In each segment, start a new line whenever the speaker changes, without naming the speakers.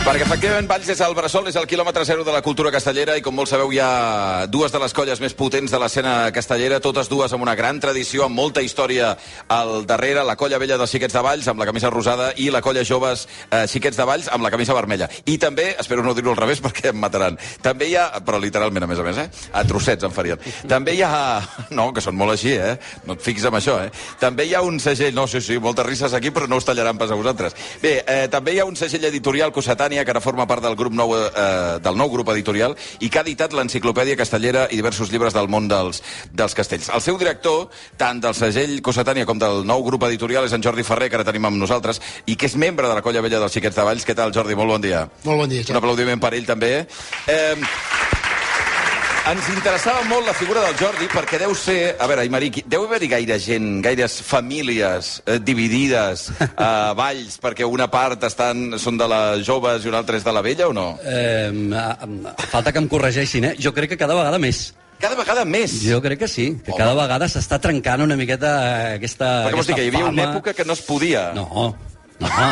Perquè efectivament Valls és al Bressol, és el quilòmetre zero de la cultura castellera i com molts sabeu hi ha dues de les colles més potents de l'escena castellera, totes dues amb una gran tradició, amb molta història al darrere, la colla vella dels Xiquets de Valls amb la camisa rosada i la colla joves eh, Xiquets de Valls amb la camisa vermella. I també, espero no dir-ho al revés perquè em mataran, també hi ha, però literalment a més a més, eh? a trossets em farien, també hi ha, no, que són molt així, eh? no et fixis en això, eh? també hi ha un segell, no, sí, sí, moltes risses aquí però no us tallaran pas a vosaltres. Bé, eh, també hi ha un segell editorial Cossetània Castanya, que ara forma part del, grup nou, eh, del nou grup editorial i que ha editat l'Enciclopèdia Castellera i diversos llibres del món dels, dels castells. El seu director, tant del segell Cossetània com del nou grup editorial, és en Jordi Ferrer, que ara tenim amb nosaltres, i que és membre de la colla vella dels Xiquets de Valls. Què tal, Jordi? Molt bon dia.
Molt bon dia,
Un
Xavi.
aplaudiment per ell, també. Eh, ens interessava molt la figura del Jordi perquè deu ser... A veure, Aimeric, deu haver-hi gaire gent, gaires famílies eh, dividides a Valls perquè una part estan, són de les joves i una altra és de la vella o no?
Eh, falta que em corregeixin, eh? Jo crec que cada vegada més.
Cada vegada més.
Jo crec que sí, que
Home.
cada vegada s'està trencant una miqueta eh, aquesta,
Perquè vols
aquesta
dir que hi havia
fama.
una època que no es podia.
No, no.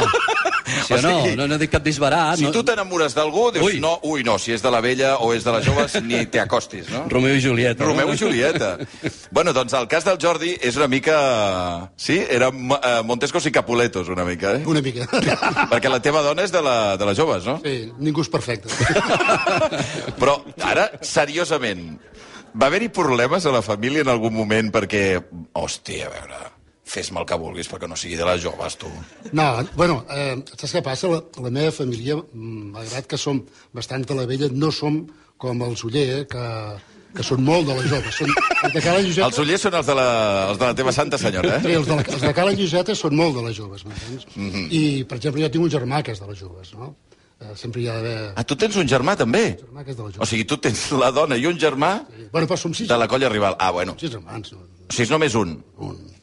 Sí o no?
O sigui,
no, no dic cap disbarat.
Si
no...
tu t'enamores d'algú, dius,
Ui.
ui. no, ui, no, si és de la vella o és de les joves, ni t'acostis, no?
Romeu i Julieta. no?
Romeu i Julieta. bueno, doncs el cas del Jordi és una mica... Sí? Era Mo- eh, Montescos i Capuletos, una mica, eh?
Una mica.
Perquè la teva dona és de, la, de les joves, no?
Sí, ningú és perfecte.
Però ara, seriosament, va haver-hi problemes a la família en algun moment perquè... Hòstia, a veure, fes-me el que vulguis perquè no sigui de les joves, tu.
No, bueno, eh, saps què passa? La, la meva família, mm, malgrat que som bastant de la vella, no som com el Soller, eh, que, que són molt de la jove. Són, els de Cala Lloseta,
Els ullers són els de la, els de la teva santa senyora,
Sí,
eh?
els de, la, els de Cala Lloseta són molt de les joves, m'entens? Mm
Mhm.
-hmm. I, per exemple, jo tinc un germà que és de les joves, no? Eh, sempre hi ha d'haver
Ah, tu tens un germà, també?
germà que és de les
O
joves.
sigui, tu tens la dona i un germà
Bueno, però som sis,
de la colla rival. Ah, bueno.
sis germans. No?
O sigui, és només un. Un.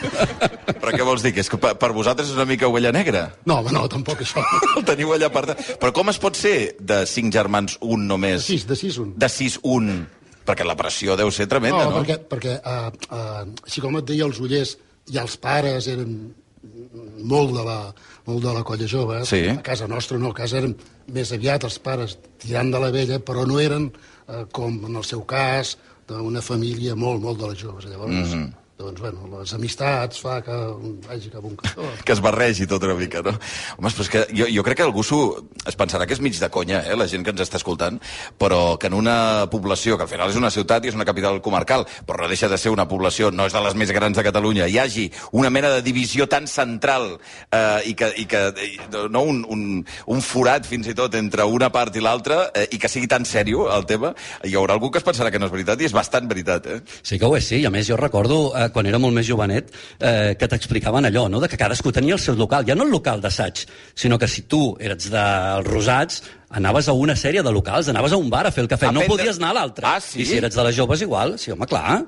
Però què vols dir? Que és que per, per vosaltres és una mica ovella negra.
no, home, no, tampoc això.
El teniu allà part... de- Però com es pot ser de cinc germans un només?
Sis, de sis, un.
De sis un? Perquè la pressió deu ser tremenda,
Eh, No,
no?
perquè, perquè uh, uh, així com et deia, els ullers i els pares eren molt de la, molt de la colla jove.
Sí.
A casa nostra no, a casa eren més aviat els pares tirant de la vella, però no eren, uh, com en el seu cas, d'una família molt, molt de les joves. Llavors, mm -hmm. doncs, bueno, les amistats fa que un vagi cap a un cantó.
que es barregi tot una mica, no? Home, però és que jo, jo crec que algú s'ho... es pensarà que és mig de conya, eh, la gent que ens està escoltant, però que en una població, que al final és una ciutat i és una capital comarcal, però no deixa de ser una població, no és de les més grans de Catalunya, hi hagi una mena de divisió tan central eh, i que, i que i, no, un, un, un forat fins i tot entre una part i l'altra eh, i que sigui tan sèrio el tema, hi haurà algú que es pensarà que no és veritat i és bastant veritat, eh?
Sí que ho és, sí. I a més, jo recordo, eh, quan era molt més jovenet, eh, que t'explicaven allò, no?, de que cadascú tenia el seu local. Ja no el local d'assaig, sinó que si tu eres dels Rosats, anaves a una sèrie de locals, anaves a un bar a fer el cafè.
A
no
prendre-
podies anar a l'altre.
Ah, sí?
I si eres de les joves, igual. Sí, home, clar.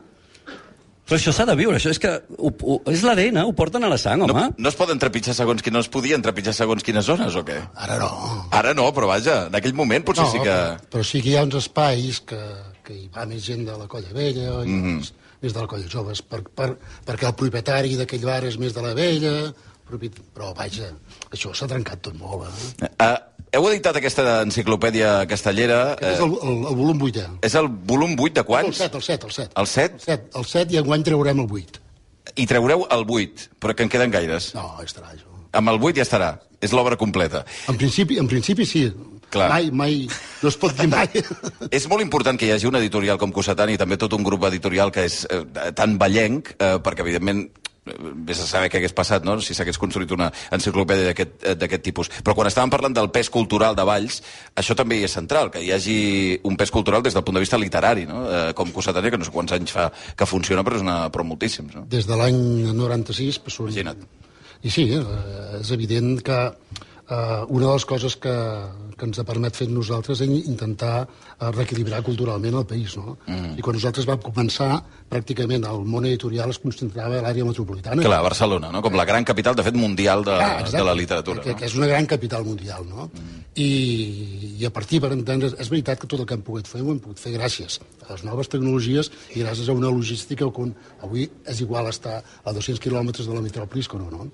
Però això s'ha de viure, això és que... Ho, ho, és l'ADN, ho porten a la sang, home.
No es poden trepitjar segons qui no es podien trepitjar segons quines zones, o què?
Ara no.
Ara no, però vaja, en aquell moment potser sí que...
però, però sí que hi ha uns espais que, que hi va més gent de la colla vella, mm
Mhm.
-hmm. més de la colla joves, per, per, perquè el propietari d'aquell bar és més de la vella, propiet... però vaja, això s'ha trencat tot molt. Eh?
Uh, heu editat aquesta enciclopèdia castellera.
Aquest és
Eh,
el, el, el volum 8, eh?
és el volum 8 de
El
quants?
7, el 7, el 7.
El 7?
El 7, el 7 i enguany traurem el 8.
I traureu el 8, però que en queden gaires.
No, estarà això.
Amb el 8 ja estarà. És l'obra completa.
En principi, en principi sí.
Clar.
Mai, mai, no es pot dir mai.
És molt important que hi hagi un editorial com Cossetani i també tot un grup editorial que és eh, tan ballenc, eh, perquè evidentment eh, vés a saber què hagués passat, no?, si s'hagués construït una enciclopèdia d'aquest eh, d'aquest tipus. Però quan estàvem parlant del pes cultural de Valls, això també hi és central, que hi hagi un pes cultural des del punt de vista literari, no?, eh, com Cossetani, que no sé quants anys fa que funciona, però és una... però moltíssims, no?
Des de l'any 96... Pues, són-
Imagina't.
I sí, eh, és evident que eh, una de les coses que, que ens ha permet fer nosaltres és intentar eh, reequilibrar culturalment el país. No? Mm. I quan nosaltres vam començar, pràcticament el món editorial es concentrava a l'àrea metropolitana.
Clar, Barcelona, no?, com la gran capital, de fet, mundial de,
Clar, Ah, exacte,
de la literatura.
Que, que és una gran capital mundial, no? Mm. I, I a partir, per entendre, és veritat que tot el que hem pogut fer ho hem pogut fer gràcies a les noves tecnologies i gràcies a una logística que avui és igual estar a 200 quilòmetres de la metròpolis que no, no?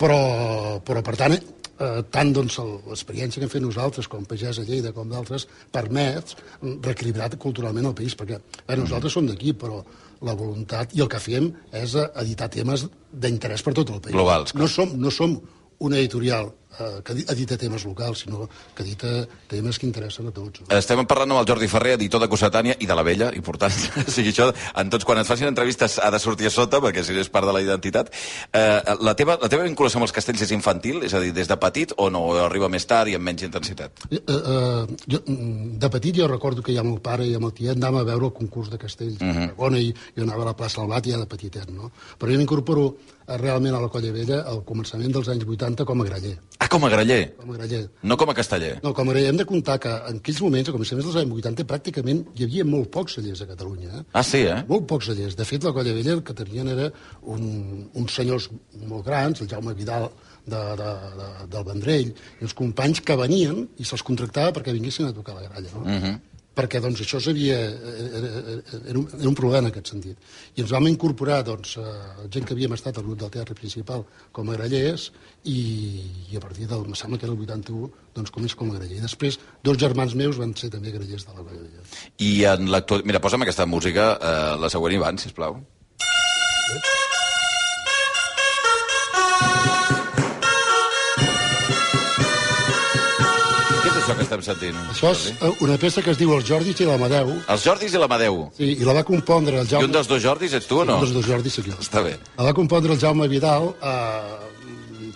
Però, però per tant, eh, tant doncs, el- l'experiència que hem fet nosaltres, com Pagès a Lleida, com d'altres, permet reequilibrar culturalment el país, perquè eh, nosaltres som d'aquí, però la voluntat i el que fem és eh, editar temes d'interès per tot el país.
Globals, clar.
No som, no som una editorial eh, que edita temes locals, sinó que edita temes que interessen a tots. No?
Estem parlant amb el Jordi Ferrer, editor de Cossetània i de la Vella, important. o sigui, això, en tots, quan ens facin entrevistes ha de sortir a sota, perquè si no és part de la identitat. Eh, la, teva, la teva vinculació amb els castells és infantil? És a dir, des de petit o no? O arriba més tard i amb menys intensitat?
Eh, eh, jo, mm, de petit jo recordo que ja amb el pare i amb el tiet anàvem a veure el concurs de castells uh -huh. de Tarragona i jo anava a la plaça Albat ja de petitet, no? Però jo m'incorporo eh, realment a la Colla Vella al començament dels anys 80 com a graller.
Ah, com a graller,
Com a graller.
no com a casteller.
No, com a graller hem de comptar que en aquells moments, a començaments dels anys 80, pràcticament hi havia molt pocs cellers a Catalunya. Eh?
Ah, sí, eh?
Molt pocs cellers. De fet, la Colla Vella el que tenien era un, uns senyors molt grans, el Jaume Vidal de, de, de, del Vendrell, i uns companys que venien i se'ls contractava perquè vinguessin a tocar la gralla. No? Uh -huh. Perquè doncs, això s'havia... Era, era- era, un, era un problema en aquest sentit. I ens vam incorporar doncs, eh, gent que havíem estat al grup del teatre principal com a grallers i, i a partir del, em sembla que era el 81, doncs començo com a graller. I després dos germans meus van ser també grallers de la Colla Vella.
I en l'actual... Mira, posa'm aquesta música, eh, la següent, Ivan, sisplau. Què és això que estem sentint?
Això és
Jordi?
eh, una peça que es diu Els Jordis i l'Amadeu,
Els Jordis i l'Amadeu.
sí, i la va compondre el
I
Jaume...
un dels dos Jordis ets tu o no?
Un dels dos Jordis, sí, jo.
Està bé.
La va compondre el Jaume Vidal eh,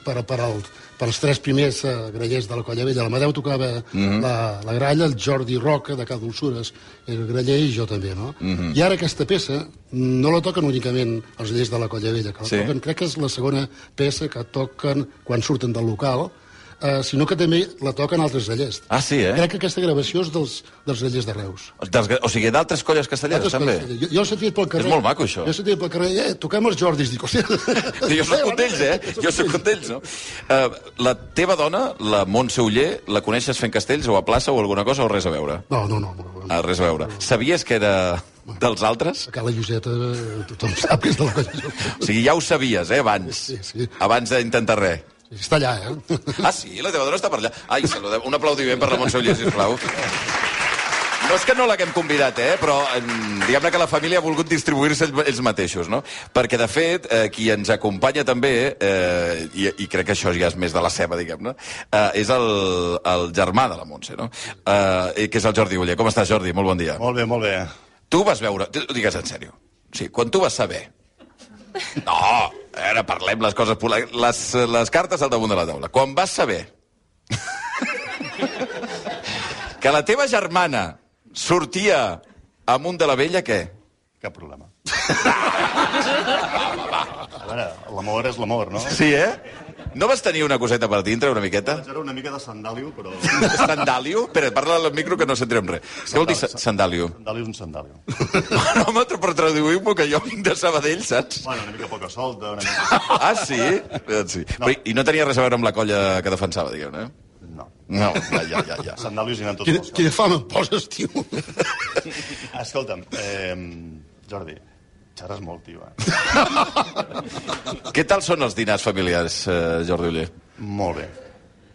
per, per, el, per els tres primers eh, grallers de la Colla Vella. L'Amadeu tocava
Mhm.
la, la gralla, el Jordi Roca, de Cal Dolçures, era graller i jo també, no?
Mhm.
I ara aquesta peça no la toquen únicament els grallers de la Colla Vella, que la
Sí.
toquen, crec que és la segona peça que toquen quan surten del local, eh, sinó que també la toquen altres grallers.
Ah, sí, eh?
Crec que aquesta gravació és dels, dels grallers de Reus.
Dels, o sigui, d'altres colles castelleres,
Altres
també.
coses. Jo, jo he sentit pel carrer...
És molt maco, això.
Jo he sentit pel carrer, eh, toquem els Jordis. Dic, hòstia...
Jo sóc un d'ells, eh? Jo sóc un d'ells, no? Uh, la teva dona, la Montse Uller, la coneixes fent castells o a plaça o alguna cosa o res a veure?
No, no, no. no.
Ah, res a veure. Sabies que era dels altres?
A Cala Lloseta eh, tothom sap que és de la colla. Lloseta.
O sigui, ja ho sabies, eh, abans.
Sí, sí.
Abans d'intentar res.
Està allà, eh?
Ah, sí? La teva dona està per allà. Ai, saludem. Un aplaudiment per la Montse Uller, sisplau. No és que no l'haguem convidat, eh? però em, diguem-ne que la família ha volgut distribuir-se ells, ells mateixos, no? Perquè, de fet, eh, qui ens acompanya també, eh, i, i crec que això ja és més de la seva, diguem-ne, eh, és el, el germà de la Montse, no? Eh, que és el Jordi Uller. Com estàs, Jordi? Molt bon dia.
Molt bé, molt bé.
Tu vas veure... tu- Ho digues en sèrio. Sí, quan tu vas saber... No, ara parlem les coses... pola- Les, les cartes al damunt de la taula. Quan vas saber que la teva germana sortia amunt de la vella, què?
Cap problema. A veure, l'amor és l'amor, no?
Sí, eh? No vas tenir una coseta per dintre, una miqueta?
Vaig veure una mica de sandàlio, però...
Sandàlio? Espera, parla al micro que no sentirem res. Què vol dir sa- sandàlio?
Sandàlio és un sandàlio.
No, home, però traduïu-m'ho, que jo vinc de Sabadell, saps?
Bueno, una mica poca solta, una mica...
Ah, sí? Eh, sí. No. Però, I no tenia res a veure amb la colla que defensava, diguem-ne. eh?
No.
No, ja, ja, ja. ja.
Sandàlios hi anem tots
Quina,
els
quina fama em poses, tio.
caps. Escolta'm, eh, Jordi, xerres molt, tio. Eh?
Què tal són els dinars familiars, eh, Jordi Uller?
Molt bé.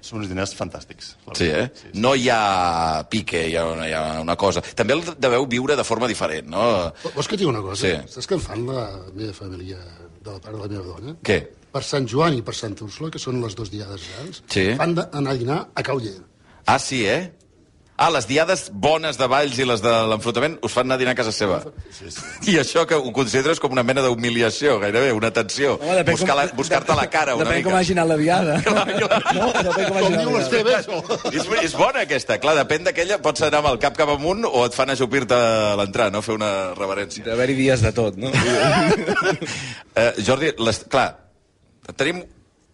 Són uns diners fantàstics. la
Sí, eh?
veritat. sí.
No hi ha pique, hi ha una, hi ha una cosa. També el deveu viure de forma diferent, no?
Vols que et digui una cosa?
Sí.
Saps què em fan la meva família de la part de la meva dona?
Què?
Per Sant Joan i per Sant Úrsula, que són les dues diades grans,
Sí.
van d'anar a dinar a Cauller.
Ah, sí, eh? Ah, les diades bones de Valls i les de l'enfrontament us fan anar a dinar a casa seva.
Sí, sí.
I això que ho consideres com una mena d'humiliació, gairebé, una tensió.
depèn
Buscar-te la, buscar la cara una
depèn
mica.
com hagi anat la viada.
Clar, clar.
No? Depèn com
Com
hagi
diu
anat la
l'Esteve, això.
És, és bona aquesta, clar, depèn d'aquella. Pots anar amb el cap cap amunt o et fan ajupir-te a l'entrar, no? Fer una reverència.
viada. haver-hi dies de tot, no?
Eh, Jordi, les, clar, tenim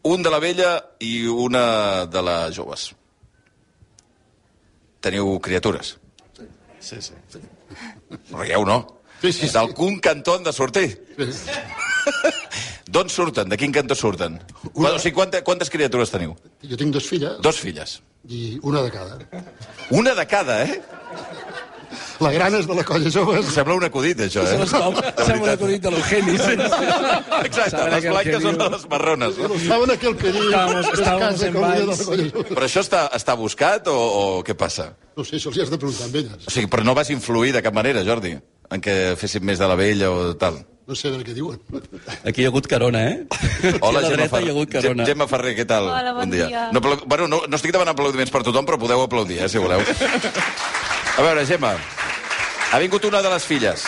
un de la vella i una de les joves. Teniu criatures.
Sí, sí.
Rieu, no?
Sí, sí, sí.
D'algun cantó han de sortir.
Sí.
D'on surten? De quin cantó surten? Una... O sigui, quantes, quantes criatures teniu?
Jo tinc dos filles
Dos filles.
i una de cada.
Una de cada, eh?
La grana és de la colla joves.
Sembla un acudit, això,
Se
eh?
l'escau, sembla
veritat.
l'acudit de l'Eugeni. Sí,
Exacte, les
Sabrà que el que
blanques són
diu-
les marrones. No?
Estaven aquí el que diu...
Estábamos-
"Es casa
estábamos en
com una de la
Valls".
colla jove.
Però això està, està buscat o, o què passa?
No sé, això els hi has de preguntar amb elles.
O sigui, però no vas influir de cap manera, Jordi, en que fessin més de la vella o tal.
No sé a veure què diuen.
Aquí hi ha hagut carona, eh? Aquí a la dreta hi ha hagut
Gem-
carona.
Gemma Ferrer, què tal?
Hola, bon dia.
No, però, bueno, no, no estic demanant aplaudiments per tothom, però podeu aplaudir, eh, si voleu. A veure, Gemma, ha vingut una de les filles.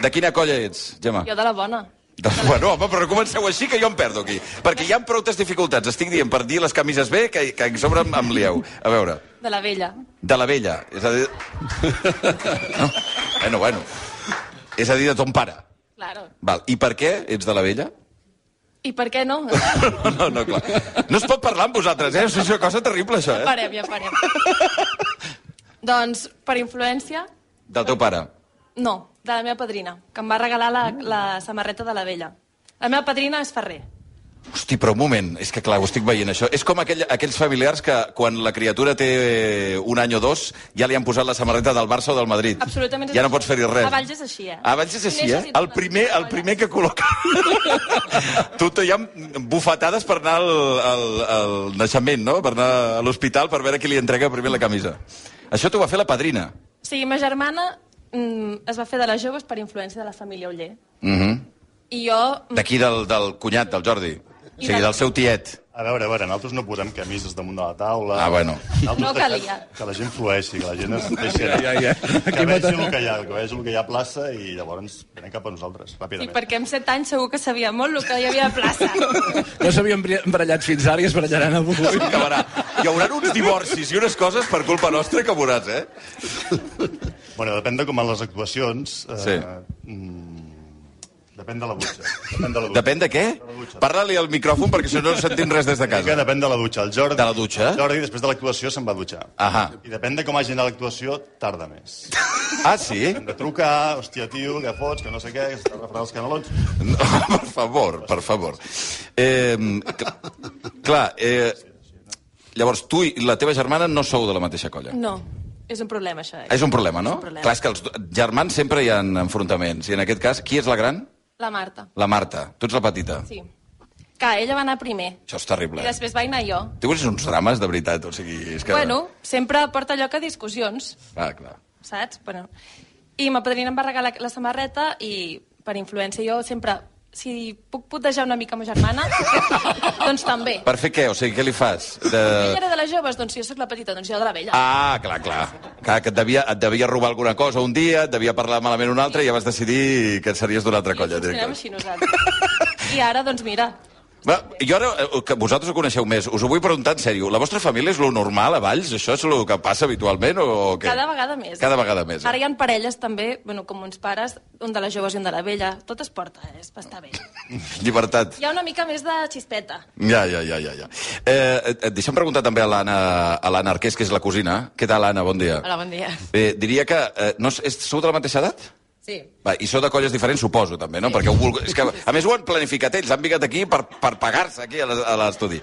De quina colla ets, Gemma?
Jo de la bona.
De... Bueno, home, però comenceu així que jo em perdo aquí. Perquè hi ha proutes dificultats, estic dient, per dir les camises bé, que, que en sobre em, em lieu. A veure,
De la vella.
de la vella, és a dir... No? Bueno, bueno. És a dir, de ton pare.
Claro.
Val. I per què ets de la vella?
I per què no?
No, no, no, clar. No es pot parlar amb vosaltres, eh? És una cosa terrible, això, eh?
Parem, ja parem. doncs, per influència,
Del teu pare.
no. De la meva padrina, que em va regalar la, la samarreta de la vella. La meva padrina és Ferrer.
Hosti, però un moment, és que clar, ho estic veient això. És com aquell, aquells familiars que quan la criatura té eh, un any o dos ja li han posat la samarreta del Barça o del Madrid.
Absolutament és
Ja no
així.
pots fer-hi res.
A Valls és així, eh?
A Valls és així, eh?
Neixes
El
i tornes.
primer, el primer que col·loca... tu te hi ha bufetades per anar al, al, al naixement, no? Per anar a l'hospital per veure qui li entrega primer la camisa. Això t'ho va fer la padrina.
O sigui, ma germana mm, es va fer de les joves per influència de la família Oller.
Mhm.
I jo... mm,
D'aquí del, del cunyat, del Jordi. O sigui,
del-
del seu tiet.
A veure, a veure, nosaltres no posem camises damunt de la taula.
Ah, bueno.
Nosaltres
No
deixem
calia.
Que la gent flueixi, que la gent es deixi anar.
ja, ja.
Que
Aquí
vegi
mata-
el que hi ha, que vegi el que hi ha a plaça i llavors venen cap a nosaltres,
I
ràpidament.
perquè amb 7 anys segur que sabia molt el que hi havia a plaça.
No s'havien embri- embarallat fins ara i es barallaran avui.
Acabarà. Hi haurà uns divorcis i unes coses per culpa nostra que veuràs, eh?
Bueno, depèn de com van les actuacions. Eh,
Sí.
mm, depèn de la dutxa. Depèn de la dutxa.
Depèn de què? Parla-li al micròfon perquè si no no sentim res des de
Que
casa.
depèn de la dutxa. El Jordi,
De la dutxa?
El Jordi, després de l'actuació, se'n va dutxar.
Ahà.
I depèn de com hagi anat l'actuació, tarda més.
Ah, sí?
Hem de trucar, hòstia, tio, que fots, que no sé què, que s'està refredant els canelons.
No, per favor, per favor. Eh, cl- clar, eh, llavors tu i la teva germana no sou de la mateixa colla.
No, és un problema, això. Eh?
És un problema, no?
un problema.
Clar, és que els do- germans sempre hi ha enfrontaments. I en aquest cas, qui és la gran?
La Marta,
La Marta. Tu ets la petita.
sí. Que ella va anar primer.
Això és terrible. eh?
I després vaig anar jo.
Tu és uns drames, de veritat, o sigui... És que...
Que... Bueno, sempre porta lloc a discussions,
Ah, clar.
saps? Bueno. I ma padrina em va regalar la samarreta i, per influència, jo sempre... Si puc putejar una mica ma germana, doncs també.
Per fer què? O sigui, què li fas? De...
Ella era de les joves, doncs jo sóc la petita, doncs jo de la vella.
Ah, clar, clar. Clar, que et devia, et devia robar alguna cosa un dia, et devia parlar malament un altre i ja vas decidir que et series d'una altra colla.
I funcionem
Ah, directament.
així nosaltres. I ara, doncs mira,
Va, jo ara, eh, que vosaltres ho coneixeu més, us ho vull preguntar en sèrio. La vostra família és lo normal a Valls? Això és el que passa habitualment o, o què?
cada vegada més.
Cada vegada més.
Ara
Eh?
hi ha parelles també, bueno, com uns pares, un de les joves i un de la vella. Tot es porta, eh? és bastant bé.
Llibertat.
Hi ha una mica més de xispeta.
Ja, ja, ja, ja. ja. Eh, eh, eh, deixa'm preguntar també a l'Anna a l'Anna Arqués, que és la cosina. Què tal, Anna? Bon dia.
Hola, bon dia.
Eh, diria que... Eh, no, és- sou de la mateixa edat?
Sí.
Va, I sou de colles diferents, suposo, també, no? Perquè ho vulgu... és que, a més, ho han planificat ells, han vingut aquí per, per pagar-se aquí a l'es- a l'estudi.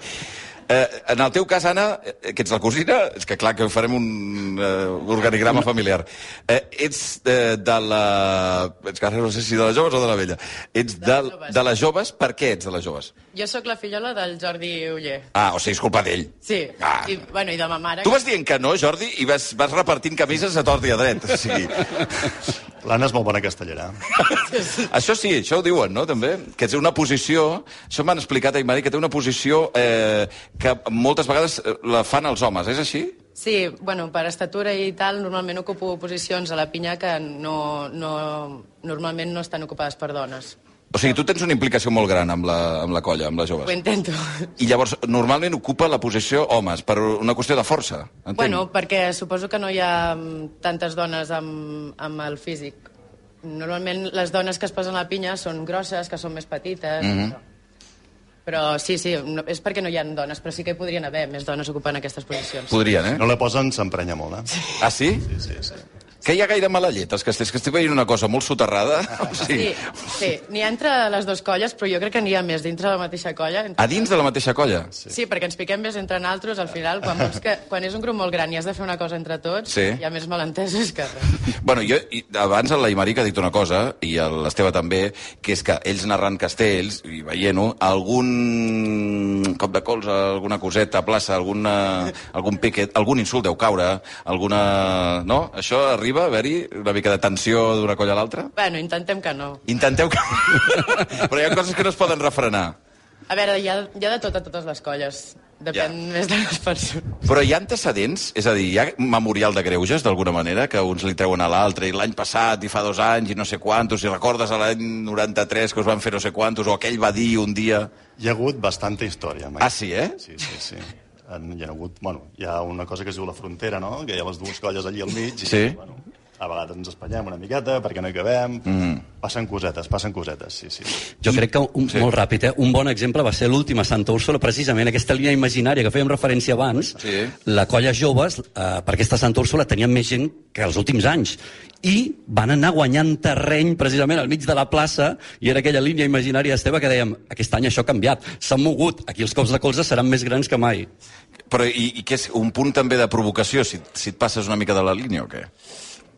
Eh, en el teu cas, Anna, eh, que ets la cosina, és que clar que farem un eh, organigrama familiar. Eh, ets eh, de la... És que ara no sé si de les joves o de la vella. Ets de,
les joves.
de les joves. Per què ets de les joves?
Jo sóc la fillola del Jordi Uller.
Ah, o sigui, és culpa d'ell.
Sí.
Ah.
I, bueno, i de ma mare...
Tu vas dient que no, Jordi, i vas, vas repartint camises a tort i a dret. O sigui,
L'Anna és molt bona castellera.
Això sí, això ho diuen, no, també? Que té una posició... Això m'han explicat a Imari, que té una posició eh, que moltes vegades eh, la fan els homes, és així?
Sí, bueno, per estatura i tal, normalment ocupo posicions a la pinya que no, no, normalment no estan ocupades per dones.
O sigui, tu tens una implicació molt gran amb la, amb la colla, amb les
Ho
joves.
intento.
I llavors, normalment ocupa la posició homes, per una qüestió de força, entenc?
Bueno, perquè suposo que no hi ha mm, tantes dones amb, amb el físic. Normalment les dones que es posen a la pinya són grosses, que són més petites... Mm
Mhm.
-hmm. Però sí, sí, no, és perquè no hi ha dones, però sí que hi podrien haver més dones ocupant aquestes posicions.
Podrien, eh?
No la posen, s'emprenya molt, eh?
Ah, sí?
Sí, sí, sí.
Que que hi ha gaire mala llet als castells, que estic veient una cosa molt soterrada. O
Sí,
sigui,
sí. n'hi ha entre les dues colles, però jo crec que n'hi ha més dintre la mateixa colla. Entre...
a dins de la mateixa colla.
Ah, Sí. sí, perquè ens piquem més entre naltros, al final, quan, veus que, quan és un grup molt gran i has de fer una cosa entre tots,
Sí.
hi ha més malentesos que res.
Bueno, jo i- abans la Imarica ha dit una cosa, i el- l'Esteve també, que és que ells narrant castells, i veient-ho, algun cop de colze, alguna coseta a plaça, alguna, algun piquet, algun insult deu caure, alguna... No? Això arriba a haver-hi una mica de tensió d'una colla a l'altra?
Bueno, intentem que no.
Intenteu que... Però hi ha coses que no es poden refrenar.
A veure, hi ha, hi ha de tot a totes les colles.
Ja.
Depèn ja. més de les persones.
Però hi ha antecedents? És a dir, hi ha memorial de greuges, d'alguna manera, que uns li treuen a l'altre, i l'any passat, i fa dos anys, i no sé quantos, i recordes a l'any 93 que us van fer no sé quantos, o aquell va dir un dia...
Hi ha hagut bastanta història. Mai.
Ah, sí, eh?
Sí, sí, sí. En, hi ha hagut... Bueno, hi ha una cosa que es diu la frontera, no? Que hi ha les dues colles allí al mig. I,
Sí.
Bueno, a vegades ens espanyem una miqueta perquè no hi cabem. Mm. Passen cosetes, passen cosetes, sí, sí.
Jo crec que, un, sí. molt ràpid, eh? un bon exemple va ser l'última Santa Úrsula, precisament aquesta línia imaginària que fèiem referència abans,
Sí.
la colla joves, eh, per aquesta Santa Úrsula, tenia més gent que els últims anys. I van anar guanyant terreny precisament al mig de la plaça i era aquella línia imaginària esteva que dèiem aquest any això ha canviat, s'ha mogut, aquí els cops de colze seran més grans que mai.
Però i, i que és un punt també de provocació, si, si et passes una mica de la línia o què?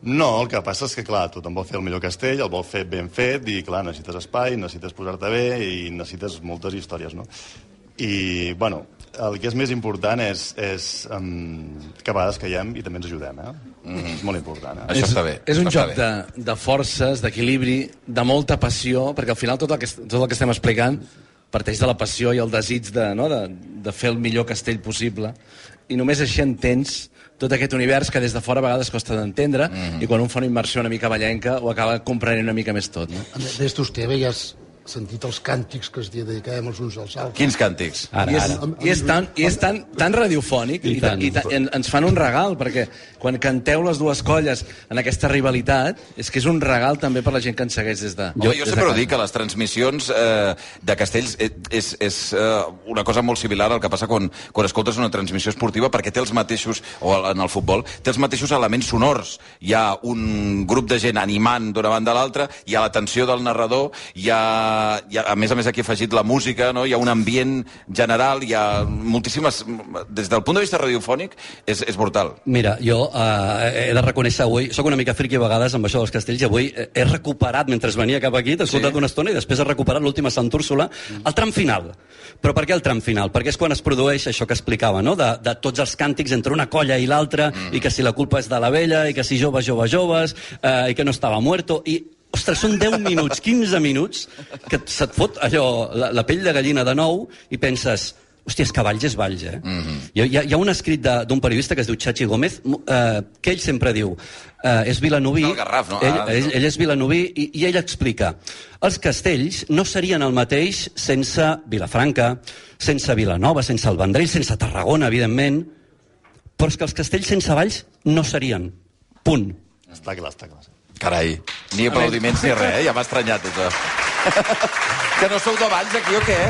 No, el que passa és que, clar, tothom vol fer el millor castell, el vol fer ben fet, i, clar, necessites espai, necessites posar-te bé i necessites moltes històries, no? I, bueno, el que és més important és, és um, que a vegades caiem i també ens ajudem, eh? Mm. És molt important, eh?
Això està bé.
És un
està
joc
bé.
de, de forces, d'equilibri, de molta passió, perquè al final tot el que, tot el que estem explicant parteix de la passió i el desig de, no, de, de fer el millor castell possible. I només així entens tot aquest univers que des de fora a vegades costa d'entendre mm -hmm. i quan un fa una immersió una mica ballenca ho acaba comprenent una mica més tot. No?
Des d'Esteve ja has sentit els càntics que es dedicàvem els uns als altres.
Quins càntics?
Ara,
I és,
ara.
I és, tan, i és tan, tan radiofònic i,
I
i, ta,
tant.
i, ta, i en- ens fan un regal, perquè quan canteu les dues colles en aquesta rivalitat, és que és un regal també per la gent que ens segueix des de...
Jo, Home, jo
des de
sempre ho
casa.
dic, que les transmissions eh, de castells eh, és, és eh, una cosa molt similar al que passa quan, quan escoltes una transmissió esportiva, perquè té els mateixos, o al- en el futbol, té els mateixos elements sonors. Hi ha un grup de gent animant d'una banda a l'altra, hi ha l'atenció del narrador, hi ha, hi ha, a més a més aquí he afegit la música, no? hi ha un ambient general, hi ha moltíssimes... Des del punt de vista radiofònic, és, és brutal.
Mira, jo eh, he de reconèixer avui, sóc una mica friqui a vegades amb això dels castells, i avui eh, he recuperat, mentre venia cap aquí, t'he escoltat
Sí.
sí. una estona i després he recuperat l'última Sant Úrsula, el tram final. Però per què el tram final? Perquè és quan es produeix això que explicava, no? de, de tots els càntics entre una colla i l'altra, mm. i que si la culpa és de la vella, i que si joves, joves, joves, eh, i que no estava muerto, i Ostres, són 10 minuts, 15 minuts, que se't fot allò, la, la pell de gallina de nou, i penses, Hòstia, és que Valls és Valls, eh? Mm
Mhm.
-hmm. hi, ha- hi, ha, hi ha un escrit de- d'un periodista que es diu Chachi Gómez, mo- eh, que ell sempre diu, eh, és vilanoví...
Del Garraf, no?
Ell,
Ah,
ell,
no.
ell és vilanoví i, i ell explica, els castells no serien el mateix sense Vilafranca, sense Vilanova, sense el Vendrell, sense Tarragona, evidentment, però és que els castells sense Valls no serien. Punt.
Està clar, està clar.
Carai, ni aplaudiments ni res, eh? ja m'ha estranyat això. que no sou d'abans aquí o què?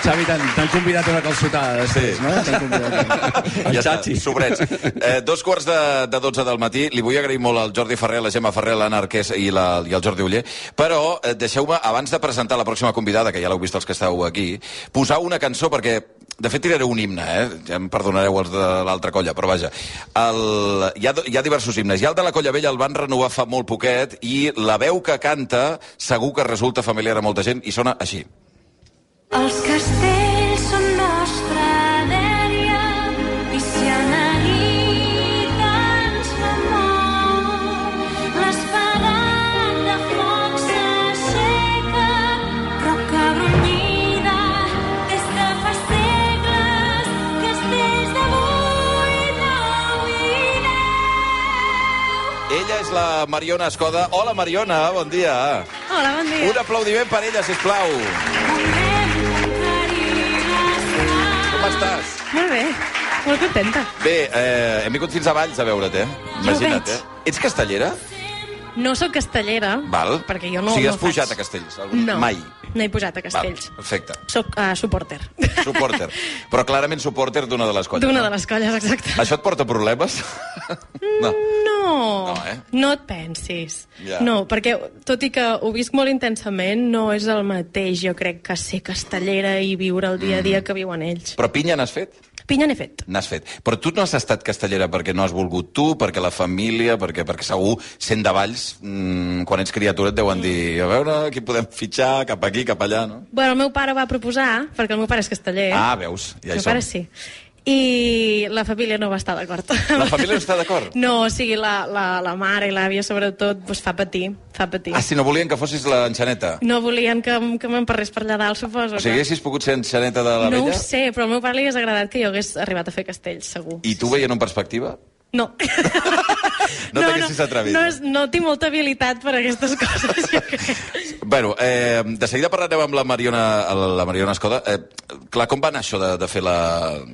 Xavi, t'han t'han convidat a una calçotada després,
Sí.
sí. no? T'han convidat.
El
ja
Chachi.
està, sobrets. Eh, dos quarts de, de 12 del matí. Li vull agrair molt al Jordi Ferrer, la Gemma Ferrer, l'Anna Arqués i, la, i el Jordi Uller. Però eh, deixeu-me, abans de presentar la pròxima convidada, que ja l'heu vist els que esteu aquí, posar una cançó perquè... De fet, tiraré un himne, eh? Ja em perdonareu els de l'altra colla, però vaja. El... Hi, ha, do- hi ha diversos himnes. Hi ha el de la Colla Vella, el van renovar fa molt poquet, i la veu que canta segur que resulta familiar a molta gent, i sona així.
Els castells són nostra dèria i si han herit ens la mort. L'esperat de foc s'aixeca, roca brunyida des de fa segles, castells d'avui, nou i deu.
Ella és la Mariona Escoda. Hola, Mariona, bon dia.
Hola, bon
Un aplaudiment per ella, si plau.
Volem conquerir l'espai.
Com estàs?
Molt bé, molt contenta.
Bé, eh, hem vingut fins a Valls a veure't, eh?
Ja ho
Imagina't,
veig.
eh? Ets castellera?
No sóc castellera,
Val?
perquè jo no...
O sigui,
no
has pujat
faig...
a Castells? Algun...
No,
Mai?
no he pujat a Castells.
Val, perfecte.
Soc uh, supporter.
Supporter. Però clarament supporter d'una de les colles.
D'una
no?
de les colles, exacte.
Això et porta problemes? no.
No,
No, eh?
no et pensis.
Ja.
No, perquè tot i que ho visc molt intensament, no és el mateix, jo crec, que ser castellera i viure el dia a dia que viuen ells.
Però pinya n'has fet?
Pinya n'he fet.
N'has fet. Però tu no has estat castellera perquè no has volgut tu, perquè la família, perquè, perquè segur, sent de Valls, mmm, quan ets criatura et deuen dir a veure qui podem fitxar, cap aquí, cap allà, no?
Bueno, el meu pare va proposar, perquè el meu pare és casteller.
Ah, veus, ja hi
el Eh? meu
som.
pare sí. I la família no va estar d'acord.
La família no està d'acord?
No, o sigui, la, la, la mare i l'àvia, sobretot, doncs fa patir, fa patir.
Ah, si no volien que fossis l'enxaneta.
No volien que, m- que m'emparrés per allà dalt, suposo.
O sigui,
que-
haguessis pogut ser enxaneta de la
no ho
vella?
sé, però al meu pare li hagués agradat que jo hagués arribat a fer castells, segur.
I tu veient en perspectiva?
No.
No t'haguessis atrevit.
No, és- no tinc molta habilitat per a aquestes coses, jo crec.
Bueno, eh, de seguida parlarem amb la Mariona, la Mariona Escoda. Eh, clar, com va anar això de, de fer la,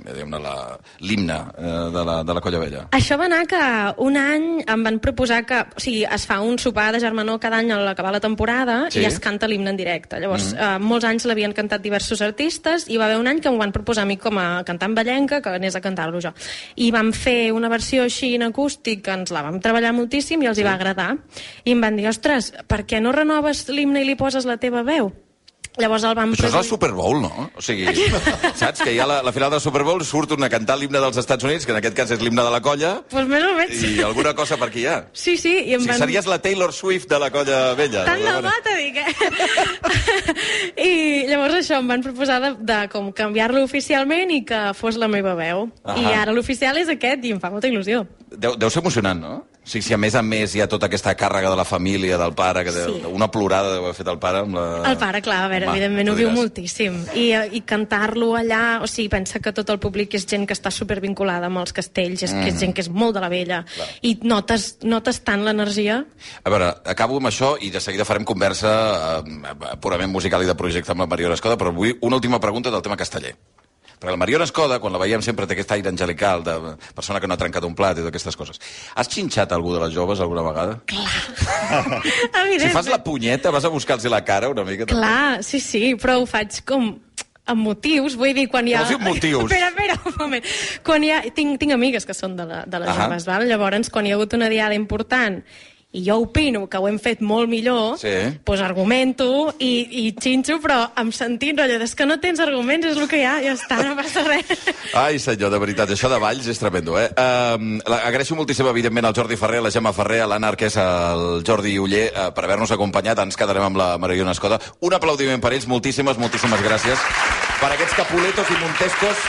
diguem-ne, la- l'himne eh, de, la, de la Colla Vella?
Això va anar que un any em van proposar que... O sigui, es fa un sopar de germanor cada any a l'acabar la temporada
Sí.
sí. i es canta l'himne en directe. Llavors, mm -hmm. eh, molts anys l'havien cantat diversos artistes i hi va haver un any que m'ho van proposar a mi com a cantant ballenca que anés a cantar-lo jo. I vam fer una versió així en acústic que ens la vam treballar moltíssim i els sí. hi va agradar. I em van dir, ostres, per què no renoves l'himne i li poses la teva veu? Llavors el vam
Això és el
produir-
Super Bowl, no? O sigui, saps que hi ha la, la final del Super Bowl, surt un a cantar l'himne dels Estats Units, que en aquest cas és l'himne de la colla,
Pues més o menys.
i alguna cosa per aquí hi ha.
Sí, sí, i
O
em
sigui,
van...
series la Taylor Swift de la colla vella.
Tant de
Bona.
bo, t'ho dic, eh? I llavors això, em van proposar de, de com canviar-lo oficialment i que fos la meva veu.
Ahà.
I ara l'oficial és aquest i em fa molta il·lusió.
Deu, deu ser emocionant, no? O sigui, si a més a més hi ha tota aquesta càrrega de la família, del pare, que deu,
Sí.
una plorada deu haver fet el pare amb la...
El pare, clar, a veure,
Ah. Home,
evidentment
tu
ho viu
diràs.
moltíssim. I, eh, i cantar-lo allà, o sigui, pensa que tot el públic és gent que està supervinculada amb els castells, és,
Mm.
que és gent que és molt de la vella. I notes, notes tant l'energia...
A veure, acabo amb això i de seguida farem conversa eh, purament musical i de projecte amb la Mariona Escoda, però vull una última pregunta del tema casteller. Perquè la Mariona Escoda, quan la veiem, sempre té aquest aire angelical de persona que no ha trencat un plat i d'aquestes coses. Has xinxat algú de les joves alguna vegada? Si
Evidentment.
fas la punyeta, vas a buscar-los la cara una mica? també?
Clar, sí, sí, però ho faig com amb motius, vull dir, quan hi ha...
Com si amb motius.
Espera, espera, un moment. Quan hi ha... tinc, tinc amigues que són de, la, de les
Ahà.
joves, val? llavors quan hi ha hagut una diada important i jo opino que ho hem fet molt millor,
Sí.
doncs argumento i, i xinxo, però em sentim rotllo, és que no tens arguments, és el que hi ha, ja està, no passa res.
Ai, senyor, de veritat, això de Valls és tremendo, eh? Um, agraeixo moltíssim, evidentment, al Jordi Ferrer, a la Gemma Ferrer, a l'Anna Arqués, al Jordi Uller, uh, per haver-nos acompanyat. Ens quedarem amb la Mariona Escoda. Un aplaudiment per ells, moltíssimes, moltíssimes gràcies per aquests capuletos i montescos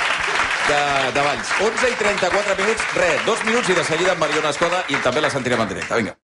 de, de Valls. 11 i 34 minuts, res, dos minuts i de seguida amb Mariona Escoda i també la sentirem en directe. Vinga.